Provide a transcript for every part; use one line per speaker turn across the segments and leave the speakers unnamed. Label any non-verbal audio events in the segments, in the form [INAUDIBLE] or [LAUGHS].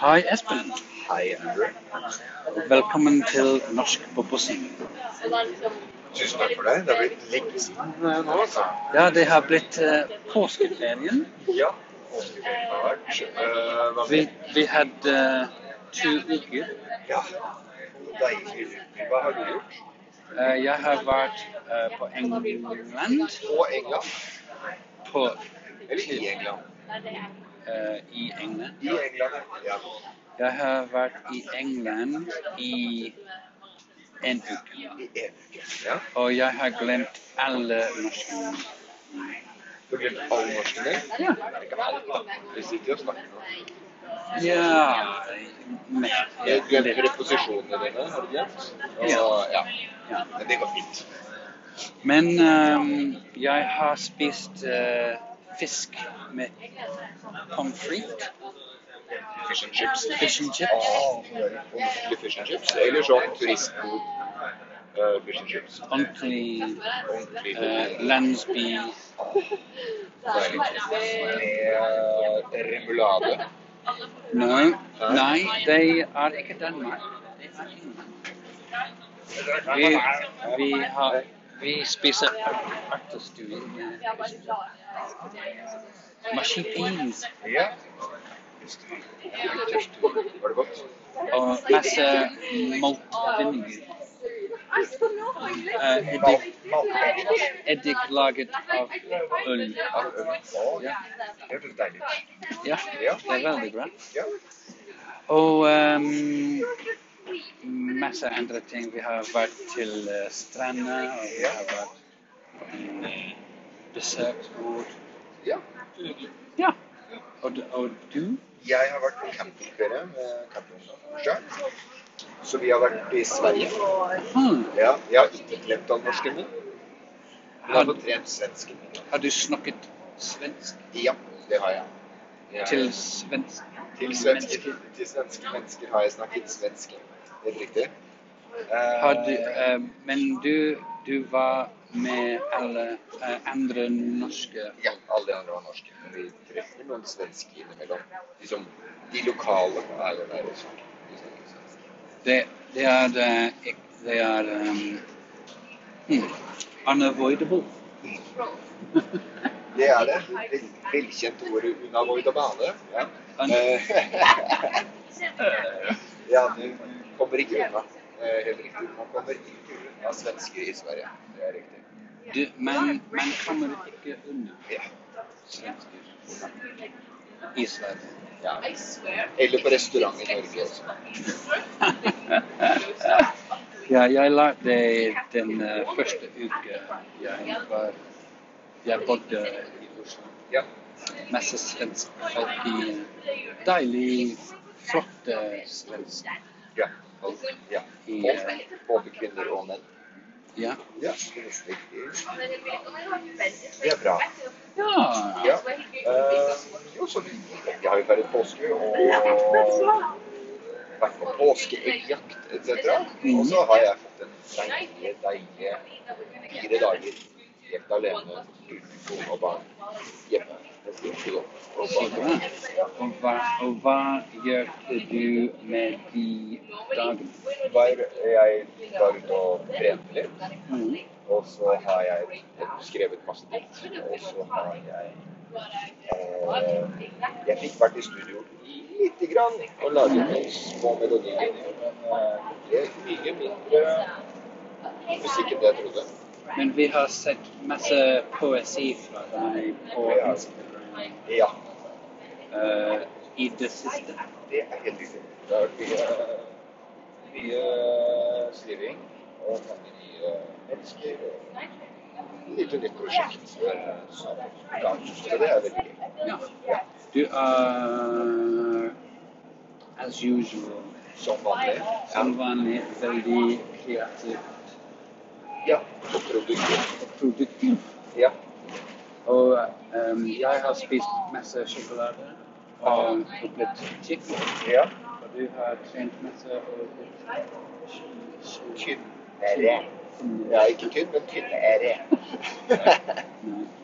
Hei, Espen.
Hei, Endre.
Velkommen til Norsk Bobosing.
Tusen takk for deg. Det har blitt lenge siden eh, nå, altså.
Ja, det har blitt eh, påskeferien.
Ja. Påskeferien har vært. Eh, hva
Vi,
med-
vi hadde eh, to uker.
Ja. Deilig. Hva har du gjort?
Eh, jeg har vært eh, på England,
På England?
på,
Eller i England?
eh, i England.
I England, ja.
Jeg har vært i England i en uke.
I en uke. Ja.
Og jeg har glemt alle norske navn.
Du glemte all norsken din?
Ja.
Ikke alt, da. Vi sitter jo og snakker nå.
Ja. Men,
Jeg glemte preposisjonene dine, har du glemt?
Ja.
Og- ja.
Ja.
Men det går fint.
Men ehm, jeg har spist eh, fisk med pommes frites.
Fish and chips.
Fish and chips.
Åh, ordentlig fish and chips. Eller sånn turistbord. eh, fish and chips.
Ordentlig
Ordentlig.
eh, landsby.
Deilig. Med eh, remulade.
No. Nei, det er ikke Danmark. Det er England. Vi, vi, har, vi spiser ert- ertestue med marsipins
Ja. Var det godt?
og masse maltvinninger. Eh, eddik, eddik laget av øl.
Av øl. Åh, ja. Det hørtes deilig ut.
Ja, det er veldig bra.
Ja.
Og ehm, masse andre ting. Vi har vært til eh, stranda, og vi har vært på en eh, besøksbord.
ja.
Ja. Og, du- og du?
Jeg har vært på campingferie med campingbursdag. Så vi har vært i Sverige.
Hmm.
Ja, jeg har ikke glemt all norsken min. Men jeg har
Har,
fått trent svensken min.
har du snakket svensk
Ja, det har jeg. Det har
til
jeg.
svensk?
til, svenske, til svenske mennesker har jeg snakket svenske. Helt riktig. Eh,
Har du, ehm, men du, du var med alle eh, andre norske
Ja, alle de andre var norske. Men vi treffer noen svenske innimellom. Liksom, de lokale er jo der også. De snakker svensk.
Det, det er, eh, ikk- det er ehm, hmm, unavoidable.
Det er det. Det velkjente ordet unavoidabane. Ja.
Un-
[LAUGHS] Eh, ja, du kommer ikke unna. Eh, Helt riktig. Man kommer ikke unna svensker i Sverige. Det er riktig.
Du, men man kommer ikke unna
Ja.
svensker i Sverige.
ja. Eller på restaurant i Norge også.
ja, jeg lærte det den eh, første uke jeg var Jeg bodde i Oslo.
Ja.
Masse svenske folk i deilig, flotte svensk.
Ja. ja.
I, eh,
Både- Både kvinner og menn.
ja.
Ja, det er riktig.
Det er bra.
ja.
Ja. Eh, jo, så jeg har jo vært påske og vært på påskeeggjakt etc. Og så har jeg fått en deilig, deilig fire dager helt alene uten kone og barn hjemme. Det er ikke godt. Og
Så bra.
barn-
Og hva, og hva gjør du med de dagene?
Var eh, jeg var ute og trente litt,
Mm.
og så har jeg skrevet masse dikt. Og så har jeg eh, Jeg fikk vært i studio lite grann og laget noen små melodier. Men eh, det er mye mindre musikk enn det jeg trodde.
Men vi har sett masse poesi fra deg på
Ja.
Instagram
Ja,
eh, i det siste.
det er helt riktig. Det har vært mye, mye skriving og mange nye mennesker. og Lite nytt prosjekt eh, som er på gang. Så det er veldig gøy.
Ja. Du er as usual
Som vanlig.
som vanlig veldig kreativt
Ja. Og produkter.
og produktiv.
Ja.
Og eh, jeg har spist masse sjokolade og blitt kjekk.
ja.
Og du har trent masse og blitt
Tynnere. Ja, ikke tynn, men tynnere.
Nei,
[LAUGHS] ja,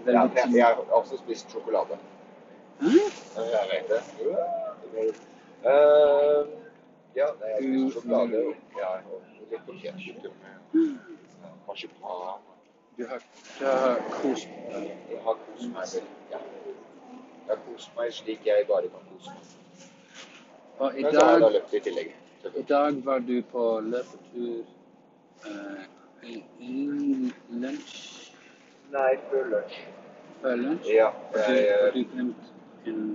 veldig
men jeg har også spist sjokolade.
Hæ?
Ja, Jeg vet det. Jo, det Eh, ja, nei, jeg spiser sjokolade og, ja, og litt potetgull med eh, marsipan.
Du har, du har kost deg.
Jeg har kost meg veldig. Ja. Jeg har kost meg slik jeg bare kan kose meg.
Og Oh, i
Men så har jeg
dag,
da løpt i tillegg.
i dag var du på løpetur eh, i- innen lunsj,
Nei, før lunsj.
før lunsj.
Ja,
Og du,
jeg,
og
eh,
du glemte en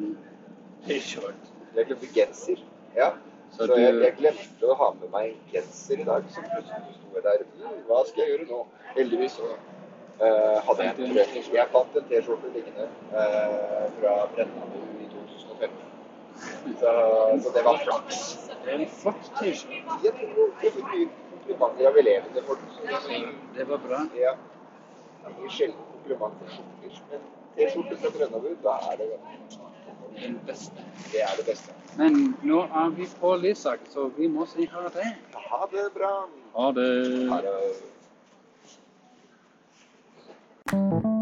T-skjorte.
jeg glemte genser. Ja.
Så
Så jeg,
du-
jeg glemte å ha med meg en genser i dag, så plutselig sto jeg der. «Mm, Hva skal jeg gjøre nå? Heldigvis så eh, hadde jeg en prøve. Jeg fant en T-skjorte liggende eh, fra Brennabu i 2015. Så, så det var flaks.
Det er en flott T-skjorte.
Jeg tror jeg fikk mye komplimenter av elevene. For,
Det var bra.
ja. Det er sjelden komplimenter for skjorter, men T-skjorte fra Brennabu, da er det
Den beste.
Det er det beste.
Men nå er vi på Lysak, så vi må si ha det.
Ha det bra.
Ha det.
Ha det.